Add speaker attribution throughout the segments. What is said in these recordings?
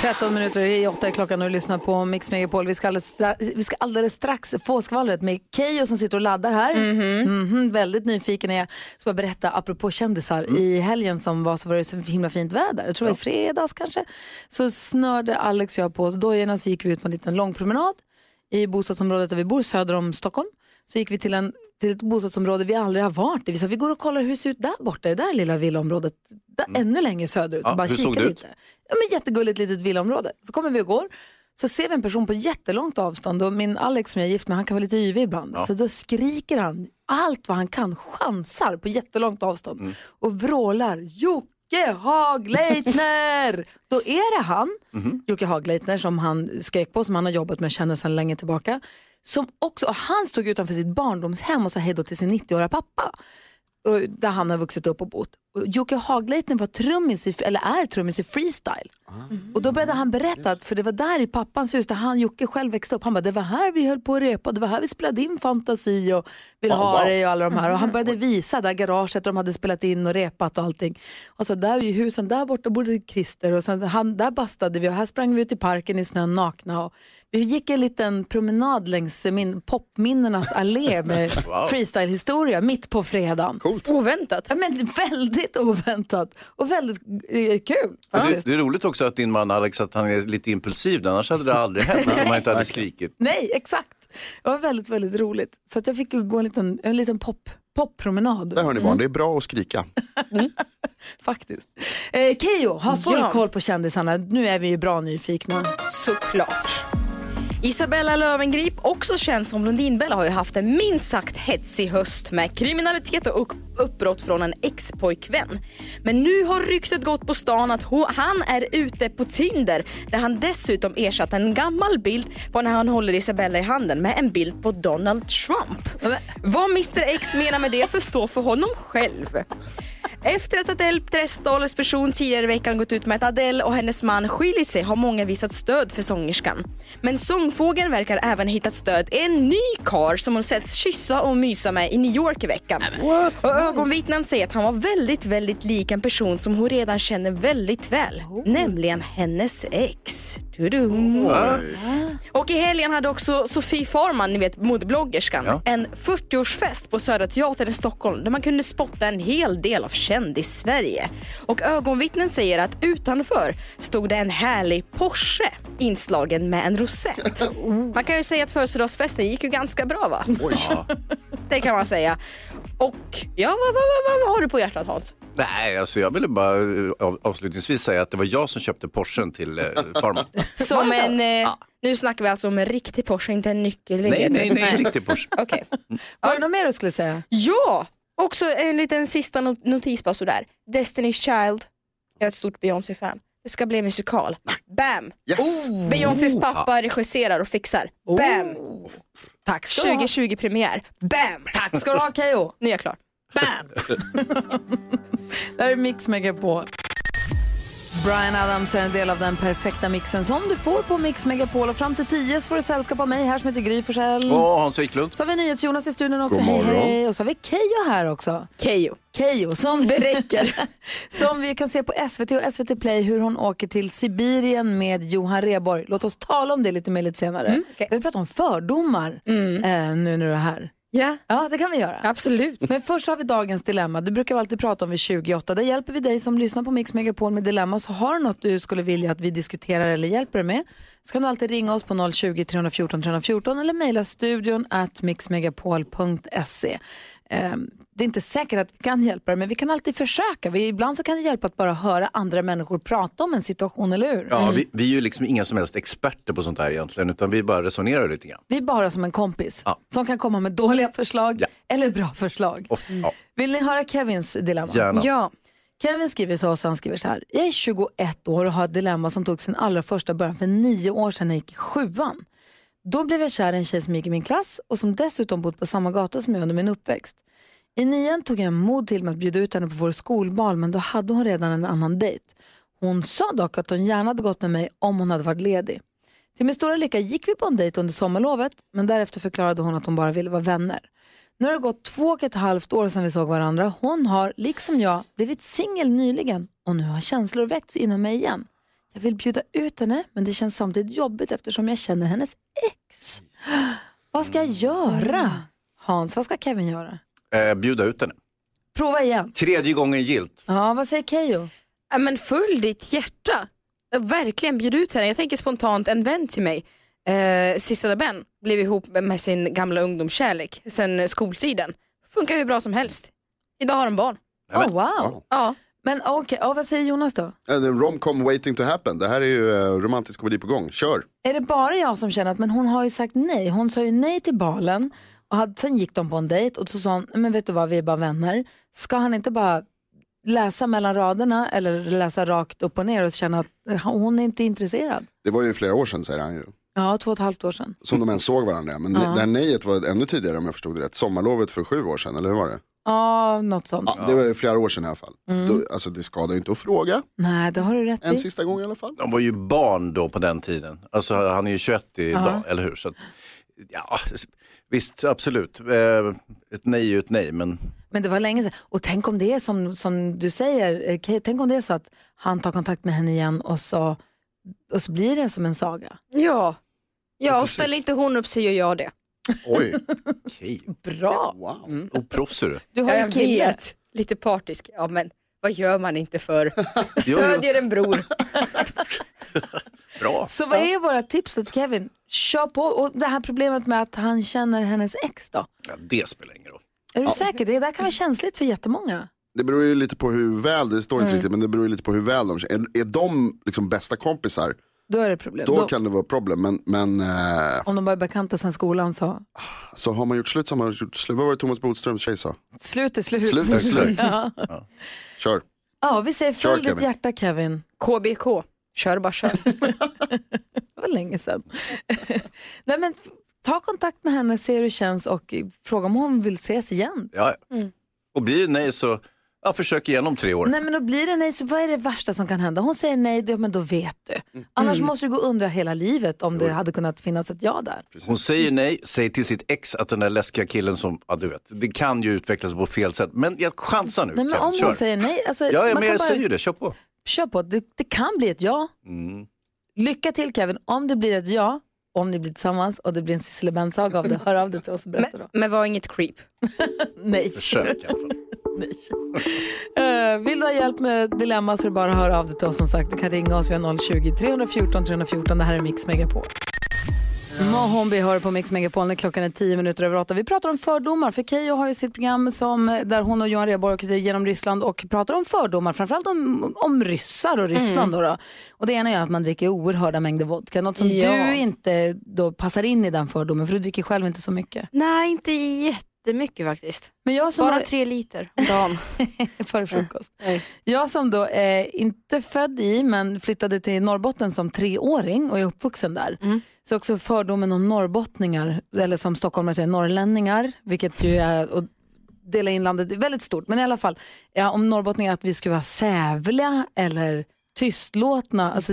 Speaker 1: 13 minuter i 8 är klockan och du lyssnar på Mix Megapol. Vi ska alldeles strax, vi ska alldeles strax få skvallret med Keyyo som sitter och laddar här. Mhm, väldigt nyfiken är jag. Ska bara berätta, apropå kändisar, i helgen som var så var det så himla fint väder. Jag tror det var i fredags kanske. Så snörde Alex och jag på oss dojorna och så gick vi ut på en liten lång promenad i bostadsområdet där vi bor, söder om Stockholm. Så gick vi till, en, till ett bostadsområde vi aldrig har varit i. Vi sa vi går och kollar hur det ser ut där borta, det där lilla villaområdet. Där, Ännu längre söderut.
Speaker 2: Mm. Ja,
Speaker 1: bara
Speaker 2: hur
Speaker 1: kika
Speaker 2: såg det
Speaker 1: lite.
Speaker 2: ut?
Speaker 1: Ja, men jättegulligt litet villaområde. Så kommer vi och går. Så ser vi en person på jättelångt avstånd och min Alex som jag är gift med, han kan vara lite yvig ibland. Så då skriker han allt vad han kan, chansar på jättelångt avstånd
Speaker 2: Mm.
Speaker 1: och vrålar Jocke Hagleitner! då är det han, Jocke Hagleitner, som han skrek på, som han har jobbat med och känner sedan länge tillbaka. Som också, och han stod utanför sitt barndomshem och sa hej då till sin 90-åriga pappa och där han har vuxit upp och bott. Och Jocke Hagleitner var trummis, i, eller är trummis i freestyle. Mm. Och då började han berätta, att, för det var där i pappans hus där han, Jocke själv växte upp. Han bara, det var här vi höll på att repa, det var här vi spelade in Fantasi och Vill ha dig och alla de här. Och han började visa där garaget där de hade spelat in och repat och allting. Och så där i husen, där borta bodde Christer och sen, han, där bastade vi och här sprang vi ut i parken i snön nakna. Och, vi gick en liten promenad längs min, popminnenas allé med freestylehistoria mitt på fredagen.
Speaker 3: Oväntat.
Speaker 1: Ja, men väldigt oväntat och väldigt eh, kul.
Speaker 2: Det,
Speaker 1: faktiskt.
Speaker 2: det är roligt också att din man Alex att han är lite impulsiv. Annars hade det aldrig hänt om han inte hade skrikit.
Speaker 1: Nej, exakt. Det var väldigt, väldigt roligt. Så att jag fick ju gå en liten, en liten pop, poppromenad
Speaker 4: Där hör ni barn, det är bra att skrika.
Speaker 1: faktiskt. Eh, Keyyo, har full
Speaker 3: Ja.
Speaker 1: koll på kändisarna. Nu är vi ju bra nyfikna.
Speaker 3: Såklart. Isabella Löwengrip, också känd som Lundinbella, har ju haft en minst sagt hetsig höst med kriminalitet och upp- uppbrott från en ex-pojkvän. Men nu har ryktet gått på stan att ho- han är ute på Tinder där han dessutom ersatt en gammal bild på när han håller Isabella i handen med en bild på Donald Trump. Vad Mr X menar med det förstår för honom själv. Efter att Adele Dressdalers person tidigare i veckan gått ut med att Adele och hennes man skiljer sig har många visat stöd för sångerskan. Men sångfågeln verkar även hittat stöd i en ny kar som hon setts kyssa och mysa med i New York i veckan. Och ögonvittnen säger att han var väldigt, väldigt lik en person som hon redan känner väldigt väl. Nämligen hennes ex. Tudum. Och i helgen hade också Sofie Farman, ni vet modebloggerskan,
Speaker 2: Ja.
Speaker 3: en 40-årsfest på Södra Teatern i Stockholm där man kunde spotta en hel del av kändis-Sverige. Och ögonvittnen säger att utanför stod det en härlig Porsche inslagen med en rosett.
Speaker 2: Oh.
Speaker 3: Man kan ju säga att födelsedagsfesten gick ju ganska bra va? Det kan man säga. Och ja, vad, vad, vad, vad har du på hjärtat Hans?
Speaker 2: Nej, alltså jag ville bara eh, av, avslutningsvis säga att det var jag som köpte Porschen till eh, farmor.
Speaker 3: Som en, eh, Nu snackar vi alltså om en riktig Porsche, inte en nyckelring.
Speaker 2: nej, nej, nej, en riktig Porsche.
Speaker 3: Okej.
Speaker 1: Var det något mer du skulle säga?
Speaker 3: Ja, också en liten sista not- notis bara sådär. Destiny's Child, jag är ett stort Beyoncé-fan. Det ska bli musikal. Bam! Oh.
Speaker 4: Yes!
Speaker 3: Beyoncés pappa regisserar och fixar. Bam!
Speaker 1: Tack ska du ha.
Speaker 3: 2020-premiär. Bam!
Speaker 1: Tack ska du ha Keyyo.
Speaker 3: Nu är jag klar.
Speaker 1: Bam! det här är Mix Megapol. Brian Adams är en del av den perfekta mixen som du får på Mix Megapol. Och fram till 10 så får du sällskap av mig här som heter Gry Forssell.
Speaker 2: Och Hans Wiklund.
Speaker 1: Så har vi NyhetsJonas i studion också.
Speaker 4: God
Speaker 1: Hej,
Speaker 4: morgon.
Speaker 1: hej. Och så har vi Keyyo här också.
Speaker 3: Keyyo.
Speaker 1: Keyyo som,
Speaker 3: Det räcker.
Speaker 1: som vi kan se på SVT och SVT Play hur hon åker till Sibirien med Johan Rheborg. Låt oss tala om det lite mer lite senare.
Speaker 3: Mm, okej. Mm.
Speaker 1: Vi pratar om fördomar eh, nu när du är här.
Speaker 3: ja,
Speaker 1: Ja, det kan vi göra.
Speaker 3: absolut.
Speaker 1: Men först har vi dagens dilemma. Du brukar alltid prata om vid 28. Där hjälper vi dig som lyssnar på Mix Megapol med dilemma. Så har du något du skulle vilja att vi diskuterar eller hjälper dig med så kan du alltid ringa oss på 020-314 314 eller mejla studion at mixmegapol.se. Eh, det är inte säkert att vi kan hjälpa det, men vi kan alltid försöka. Vi, ibland så kan det hjälpa att bara höra andra människor prata om en situation, eller hur?
Speaker 2: Ja, vi, vi är ju liksom inga som helst experter på sånt här egentligen, utan vi bara resonerar lite grann.
Speaker 1: Vi är bara som en kompis
Speaker 2: Ja.
Speaker 1: som kan komma med dåliga förslag
Speaker 2: Ja.
Speaker 1: eller bra förslag.
Speaker 2: Ofta, ja,
Speaker 1: Vill ni höra Kevins dilemma?
Speaker 2: gärna.
Speaker 3: Ja,
Speaker 1: Kevin skriver till oss, han skriver så här. Jag är 21 år och har ett dilemma som tog sin allra första början för nio år sedan när jag gick i sjuan. Då blev jag kär i en tjej som gick i min klass och som dessutom bott på samma gata som jag under min uppväxt. I nian tog jag mod till mig att bjuda ut henne på vår skolbal men då hade hon redan en annan dejt. Hon sa dock att hon gärna hade gått med mig om hon hade varit ledig. Till min stora lycka gick vi på en dejt under sommarlovet men därefter förklarade hon att hon bara ville vara vänner. Nu har det gått två och ett halvt år sedan vi såg varandra. Hon har, liksom jag, blivit singel nyligen och nu har känslor väckts inom mig igen. Jag vill bjuda ut henne men det känns samtidigt jobbigt eftersom jag känner hennes ex. Vad ska jag göra? Hans, vad ska Kevin göra?
Speaker 2: Eh, bjuda ut henne.
Speaker 1: Prova igen.
Speaker 2: Tredje gången gilt.
Speaker 1: Ja, vad säger Keyyo?
Speaker 3: Ja, men följ ditt hjärta. Verkligen bjud ut henne. Jag tänker spontant en vän till mig, eh, Sissela Ben, blev ihop med sin gamla ungdomskärlek sen skoltiden. Funkar hur bra som helst. Idag har de barn.
Speaker 2: Nej,
Speaker 1: Oh,
Speaker 2: men-
Speaker 1: wow.
Speaker 3: Ja.
Speaker 1: Men okej, ja, vad säger Jonas då?
Speaker 4: En romcom waiting to happen. Det här är ju eh, romantisk komedi på gång. Kör!
Speaker 1: Är det bara jag som känner att men hon har ju sagt nej? Hon sa ju nej till balen och hade, sen gick de på en dejt och så sa hon, men vet du vad, vi är bara vänner. Ska han inte bara läsa mellan raderna eller läsa rakt upp och ner och känna att eh, hon är inte intresserad?
Speaker 4: Det var ju flera år sedan säger han ju.
Speaker 1: Ja, två och ett halvt år sedan.
Speaker 4: Som de ens såg varandra. Men det det här nejet var ännu tidigare om jag förstod det rätt. Sommarlovet för sju år sedan, eller hur var det?
Speaker 1: Ja, något sånt.
Speaker 4: Ja, Det var ju flera år sedan i alla fall. Då, alltså det skadar ju inte att fråga.
Speaker 1: Nej, det har du rätt
Speaker 4: En
Speaker 1: i.
Speaker 4: sista gång i alla fall.
Speaker 2: De var ju barn då på den tiden. Alltså han är ju 21 idag, eller hur? Så att, ja, visst, absolut. Eh, ett nej är ju ett nej, men
Speaker 1: Men det var länge sedan. Och tänk om det är som, som du säger, eh, Kay, tänk om det är så att han tar kontakt med henne igen och så, och så blir det som en saga.
Speaker 3: Ja. Ja, och
Speaker 4: precis.
Speaker 3: ställer inte hon upp så gör jag det.
Speaker 4: Oj,
Speaker 2: okej.
Speaker 1: Bra!
Speaker 4: wow.
Speaker 2: Mm. Oproffs är du.
Speaker 1: Du har en kille.
Speaker 3: Lite partisk. Ja, men vad gör man inte för?
Speaker 2: jo.
Speaker 3: Stödjer en bror.
Speaker 2: Bra.
Speaker 1: Så vad är våra tips till Kevin? Kör på. Och det här problemet med att han känner hennes ex då?
Speaker 2: Ja, det spelar ingen roll.
Speaker 1: Är du säker? Det där kan vara känsligt för jättemånga.
Speaker 4: Det beror ju lite på hur väl, det står inte riktigt, men det beror ju lite på hur väl de är, är de liksom bästa kompisar,
Speaker 1: Då är det problem.
Speaker 4: då
Speaker 1: Då,
Speaker 4: kan det vara problem. Men, men eh,
Speaker 1: Om de bara är bekanta sedan skolan så.
Speaker 4: så har man gjort slut så har man gjort slut. Vad var det Thomas Bodströms tjej sa?
Speaker 1: Slut är slut.
Speaker 4: Slut är slut.
Speaker 1: Ja.
Speaker 4: Kör.
Speaker 1: ja, vi säger
Speaker 4: Kör,
Speaker 1: följ ditt
Speaker 4: Kevin.
Speaker 1: hjärta Kevin.
Speaker 3: KBK. Kör bara kör.
Speaker 1: Det var länge sedan. Nej, men ta kontakt med henne, se hur det känns och fråga om hon vill ses igen.
Speaker 2: Ja. ja. Och blir det nej så, ja, försök igen om tre år.
Speaker 1: Mm. Nej men då blir det nej, så vad är det värsta som kan hända? Hon säger nej, då, men då vet
Speaker 4: Mm.
Speaker 1: du. Annars måste du gå och undra hela livet om det hade kunnat finnas ett ja där.
Speaker 2: Hon
Speaker 1: Mm.
Speaker 2: säger nej, säger till sitt ex att den där läskiga killen som, ja du vet, det kan ju utvecklas på fel sätt. Men jag chansar nu,
Speaker 1: Nej, men
Speaker 2: Kevin,
Speaker 1: om
Speaker 2: kör.
Speaker 1: hon säger nej, alltså,
Speaker 2: Ja, ja
Speaker 1: man
Speaker 2: men
Speaker 1: kan
Speaker 2: jag
Speaker 1: bara
Speaker 2: säger Mm. ju det, kör på.
Speaker 1: köra på. Det, det kan bli ett ja. Lycka till Kevin, om det blir ett ja, om ni blir tillsammans och det blir en Sissela saga av det, hör av dig till oss och berätta då.
Speaker 3: Men var inget creep.
Speaker 1: Nej.
Speaker 2: Försök i alla fall.
Speaker 1: nej. Eh, vill du ha hjälp med dilemma så är det bara att höra av dig till oss som sagt. Du kan ringa oss via 020 314 314. Det här är Mix Megapol. Mohombi hör på Mix Megapol när klockan är 10 minuter över 8. Vi pratar om fördomar, för Keyyo har ju sitt program som, där hon och Johan Rheborg åker genom Ryssland och pratar om fördomar, framförallt om, om ryssar och Ryssland. Då då. Och det ena är att man dricker oerhörda mängder vodka, något som
Speaker 3: Ja.
Speaker 1: du inte då passar in i den fördomen, för du dricker själv inte så mycket.
Speaker 5: Nej, inte jättemycket faktiskt.
Speaker 1: Men jag som
Speaker 5: Bara
Speaker 1: har-
Speaker 5: tre liter om dagen.
Speaker 1: för frukost. Jag som då är inte född i men flyttade till Norrbotten som treåring och är uppvuxen där. Så också fördomen om norrbottningar, eller som stockholmare säger norrlänningar, vilket ju är och dela in landet är väldigt stort. Men i alla fall, ja, om norrbottningar att vi skulle vara sävliga eller tystlåtna. Alltså,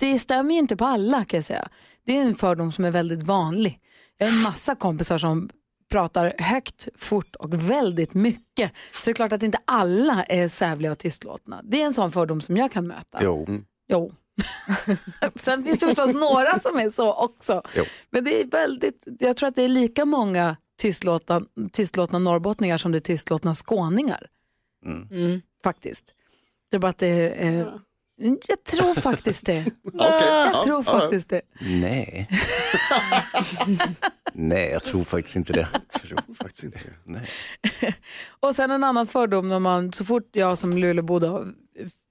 Speaker 1: det stämmer ju inte på alla kan jag säga. Det är en fördom som är väldigt vanlig. Jag har en massa kompisar som pratar högt, fort och väldigt mycket. Så det är klart att inte alla är sävliga och tystlåtna. Det är en sån fördom som jag kan möta.
Speaker 2: Jo.
Speaker 1: Jo. Sen finns det förstås några som är så också.
Speaker 2: Jo.
Speaker 1: Men det är väldigt, jag tror att det är lika många tystlåtna, tystlåtna norrbottningar som det är
Speaker 4: Mm.
Speaker 1: tystlåtna skåningar. Faktiskt. Det är bara att det är eh, Jag tror faktiskt det.
Speaker 4: Okej,
Speaker 1: Jag
Speaker 4: ja,
Speaker 1: tror
Speaker 4: ja, ja.
Speaker 1: faktiskt det.
Speaker 2: Nej. Nej, jag tror faktiskt inte det.
Speaker 4: tror faktiskt inte det.
Speaker 2: Nej.
Speaker 1: Och sen en annan fördom när man, så fort jag som Luleboda har-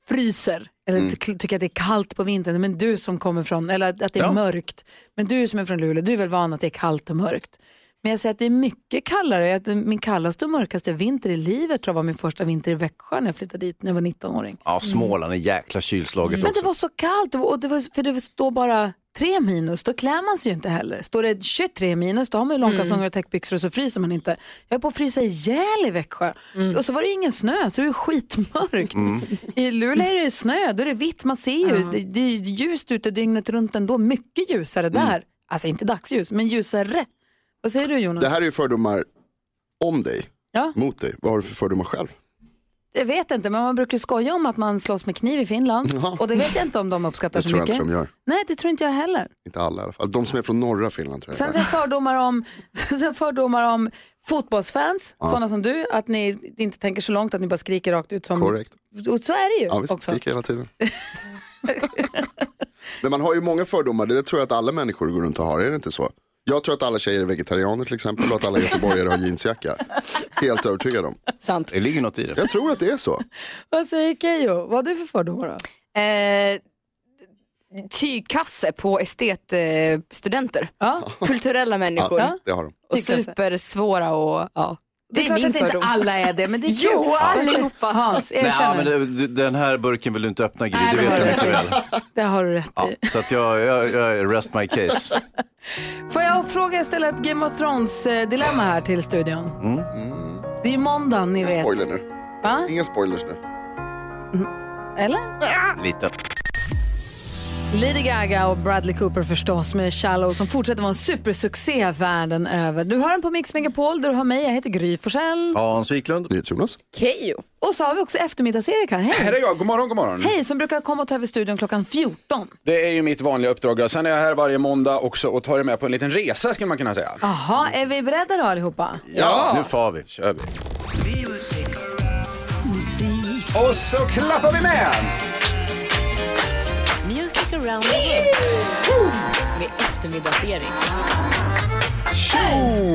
Speaker 1: fryser eller ty- tycker att det är kallt på vintern, men du som kommer från, eller att att det är
Speaker 2: Ja.
Speaker 1: mörkt, men du som är från Luleå, du är väl van att det är kallt och mörkt. Men jag säger att det är mycket kallare, att min kallaste och mörkaste vinter i livet tror jag var min första vinter i Växjö när jag flyttade dit när jag var 19-åring.
Speaker 2: Ja, Småland är jäkla kylslaget
Speaker 1: Men det
Speaker 2: också.
Speaker 1: var så kallt, det var- och det var, för det står bara tre minus, då klär man sig ju inte heller. Står det 23 minus, då har man ju långkalsonger och täckbyxor och så fryser man inte. Jag är på att frysa ihjäl i Växjö. Och så var det ju ingen snö, så det är skitmörkt. I Luleå är det snö, då är det vitt, man ser ju. Det, det är ljust ute dygnet runt ändå, mycket ljusare där. Alltså inte dagsljus, men ljusare. Vad säger du Jonas?
Speaker 4: Det här är ju fördomar om dig,
Speaker 1: Ja.
Speaker 4: mot dig. Vad har du för fördomar själv?
Speaker 1: Jag vet inte, men man brukar ju skoja om att man slåss med kniv i Finland.
Speaker 4: Ja.
Speaker 1: Och det vet jag inte om de uppskattar
Speaker 4: Det
Speaker 1: så
Speaker 4: tror jag
Speaker 1: mycket.
Speaker 4: inte de gör.
Speaker 1: Nej, det tror inte jag heller.
Speaker 4: Inte alla i alla fall. De som är från norra Finland tror jag.
Speaker 1: Sen så har jag fördomar om, sen så har jag fördomar om fotbollsfans, sådana som du, att ni inte tänker så långt att ni bara skriker rakt ut. Som,
Speaker 4: Korrekt.
Speaker 1: Och så är det ju
Speaker 4: Ja visst,
Speaker 1: också.
Speaker 4: skriker hela tiden. Men man har ju många fördomar, det tror jag att alla människor går runt och har, är det inte så? Jag tror att alla tjejer är vegetarianer till exempel och att alla göteborgare har jeansjacka. Helt övertygad om.
Speaker 3: Sant.
Speaker 2: Det ligger något i det.
Speaker 4: Jag tror att det är så.
Speaker 1: Vad säger Keyyo? Vad har du för fördomar då?
Speaker 5: Eh, tygkasse på estetstudenter.
Speaker 1: Ja.
Speaker 5: Kulturella människor.
Speaker 4: Ja, det har de.
Speaker 5: Och
Speaker 1: Tygkasse.
Speaker 5: supersvåra och ja.
Speaker 1: Det är, klart att inte alla är det, men det är
Speaker 5: Jo,
Speaker 1: kul.
Speaker 5: allihopa.
Speaker 1: Hans,
Speaker 2: Nej, ja,
Speaker 1: erkänn
Speaker 2: men
Speaker 1: det.
Speaker 2: det- du- den här burken vill du inte öppna Gry,
Speaker 1: Nej,
Speaker 2: det
Speaker 1: det har
Speaker 2: vet
Speaker 1: du
Speaker 2: jag mycket väl.
Speaker 1: rätt Det har du rätt
Speaker 2: Ja,
Speaker 1: i.
Speaker 2: så att jag, jag, jag rest my case.
Speaker 1: Får jag fråga ställa ett Game of Thrones-dilemma här till studion? Det är ju måndag, ni
Speaker 4: Inga
Speaker 1: vet.
Speaker 4: spoiler nu.
Speaker 1: Va? Mm.
Speaker 4: Inga spoilers nu.
Speaker 1: Eller?
Speaker 2: Lite.
Speaker 1: Lady Gaga och Bradley Cooper förstås med Shallow som fortsätter vara en supersuccé världen över. Du hör den på Mix Megapol där du har mig, jag heter Gry Forssell.
Speaker 2: Hans Wiklund.
Speaker 4: NyhetsJonas.
Speaker 3: Keyyo.
Speaker 1: Och så har vi också eftermiddags-Erik här, hej!
Speaker 6: Här är jag, god morgon, god morgon.
Speaker 1: Hej, som brukar komma och ta över studion klockan 14.
Speaker 6: Det är ju mitt vanliga uppdrag. Ja, Sen är jag här varje måndag också och tar er med på en liten resa skulle man kunna säga.
Speaker 1: Jaha, är vi beredda då allihopa?
Speaker 6: Ja!
Speaker 2: Nu far vi.
Speaker 6: kör vi. Och så klappar vi med!
Speaker 7: Music around the world. Med eftermiddagsserie.
Speaker 6: Tjo!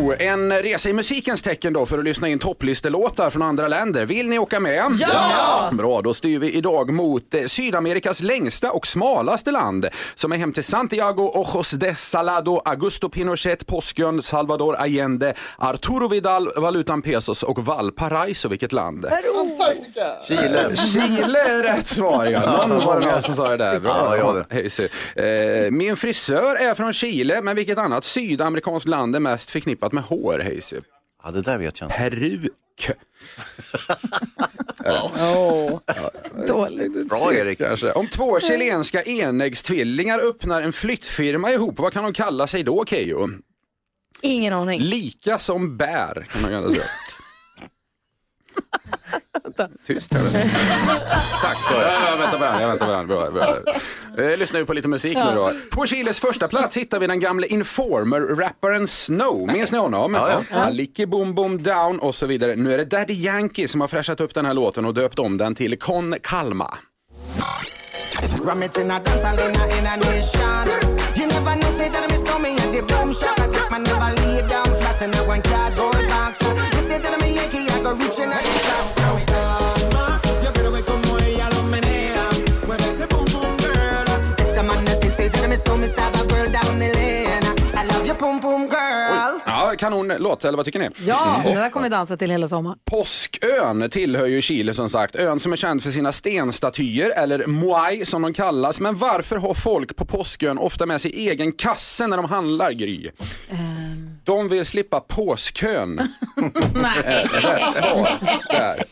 Speaker 6: Oh, En resa i musikens tecken då för att lyssna in topplistelåtar från andra länder. Vill ni åka med?
Speaker 1: Ja!
Speaker 6: Bra, då styr vi idag mot eh, Sydamerikas längsta och smalaste land som är hem till Santiago, Ojos de Salado, Augusto Pinochet, Påskön, Salvador Allende, Arturo Vidal, valutan pesos och Valparaiso, vilket land?
Speaker 4: Antarktika!
Speaker 2: Chile.
Speaker 6: Chile är rätt svar ja. Någon var det någon som sa det där. Bra, ja, ja. Eh, Min frisör är från Chile, men vilket annat sydamerikanskt land är mest förknippat med hår, Hayes?
Speaker 2: Ja, det där vet jag inte.
Speaker 6: Peruk.
Speaker 1: Dåligt.
Speaker 2: Bra Erik.
Speaker 6: Kanske. Om två chilenska enäggstvillingar öppnar en flyttfirma ihop, vad kan de kalla sig då, Keyyo?
Speaker 3: Ingen aning.
Speaker 6: Lika som bär, kan man gärna säga. Tyst här nu. Tack för det. Jag väntar på den, jag väntar på den. Bra, bra. Eh, Lyssna nu på lite musik nu då. På Chiles första plats hittar vi den gamle Informer-rapparen Snow. Minns ni honom? Ja, ja. Licky boom boom down och så vidare. Nu är det Daddy Yankee som har fräschat upp den här låten och döpt om den till Con Calma. Ja, kanon låt, eller vad tycker ni?
Speaker 1: Ja,
Speaker 3: Mm.
Speaker 1: den där kommer vi dansa till hela sommaren.
Speaker 6: Påskön tillhör ju Chile som sagt. Ön som är känd för sina stenstatyer, eller muay som de kallas. Men varför har folk på Påskön ofta med sig egen kasse när de handlar, Gry? De vill slippa påskön.
Speaker 1: Nej.
Speaker 6: Rätt svar. Där.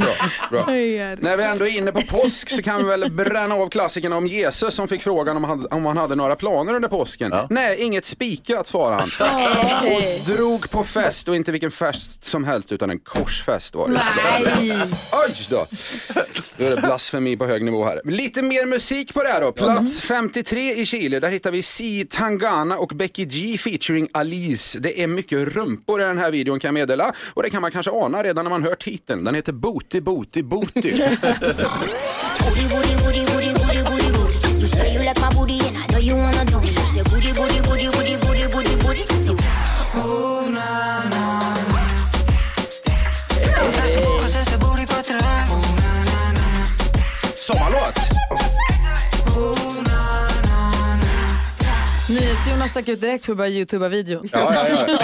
Speaker 6: Bra, bra. När vi ändå är inne på påsk så kan vi väl bränna av klassikerna om Jesus som fick frågan om han, om han hade några planer under påsken. Nej, inget spikat svarade han. Och drog på fest och inte vilken fest som helst utan en korsfest var det.
Speaker 1: Nej.
Speaker 6: Oj då! Då är det blasfemi på hög nivå här. Lite mer musik på det här då. Plats 53 i Chile, där hittar vi Si Tangana och Becky G featuring Alice. Det är mycket rumpor i den här videon kan jag meddela. Och det kan man kanske ana redan när man hör titeln. Den heter Booty Booty Booty.
Speaker 7: Booty, booty, booty, booty, So you like my booty and I know you wanna do me. You say booty, booty, booty, booty, booty, booty, booty. do. Oh na na.
Speaker 6: Sommarlåt!
Speaker 1: NyhetsJonas stack ut direkt för att börja youtuba videon.
Speaker 6: Ja, ja,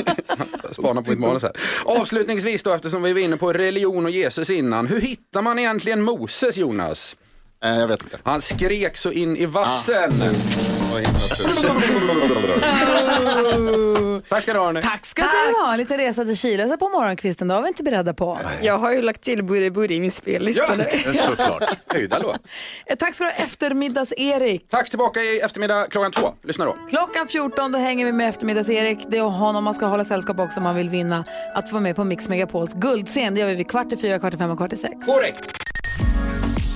Speaker 6: ja. Spana på mitt manus här. Avslutningsvis då, eftersom vi var inne på religion och Jesus innan. Hur hittar man egentligen Moses, Jonas?
Speaker 4: Eh, jag vet inte.
Speaker 6: Han skrek så in i vassen. Tack ska du ha, hörni.
Speaker 1: Tack ska du ha. En liten resa till Chile så på morgonkvisten, det var vi inte beredda på.
Speaker 3: Jag har ju lagt till Burre Burre i min spellista nu.
Speaker 6: Höjda låt.
Speaker 1: Eh, Tack ska du ha eftermiddags-Erik.
Speaker 6: Tack tillbaka i eftermiddag klockan två. Lyssna då.
Speaker 1: Klockan 14 då hänger vi med eftermiddags-Erik. Det är honom man ska hålla sällskap också om man vill vinna att få vara med på Mix Megapols guldscen. Det gör vi vid kvart i fyra, kvart i fem och kvart i sex.
Speaker 6: Korrekt.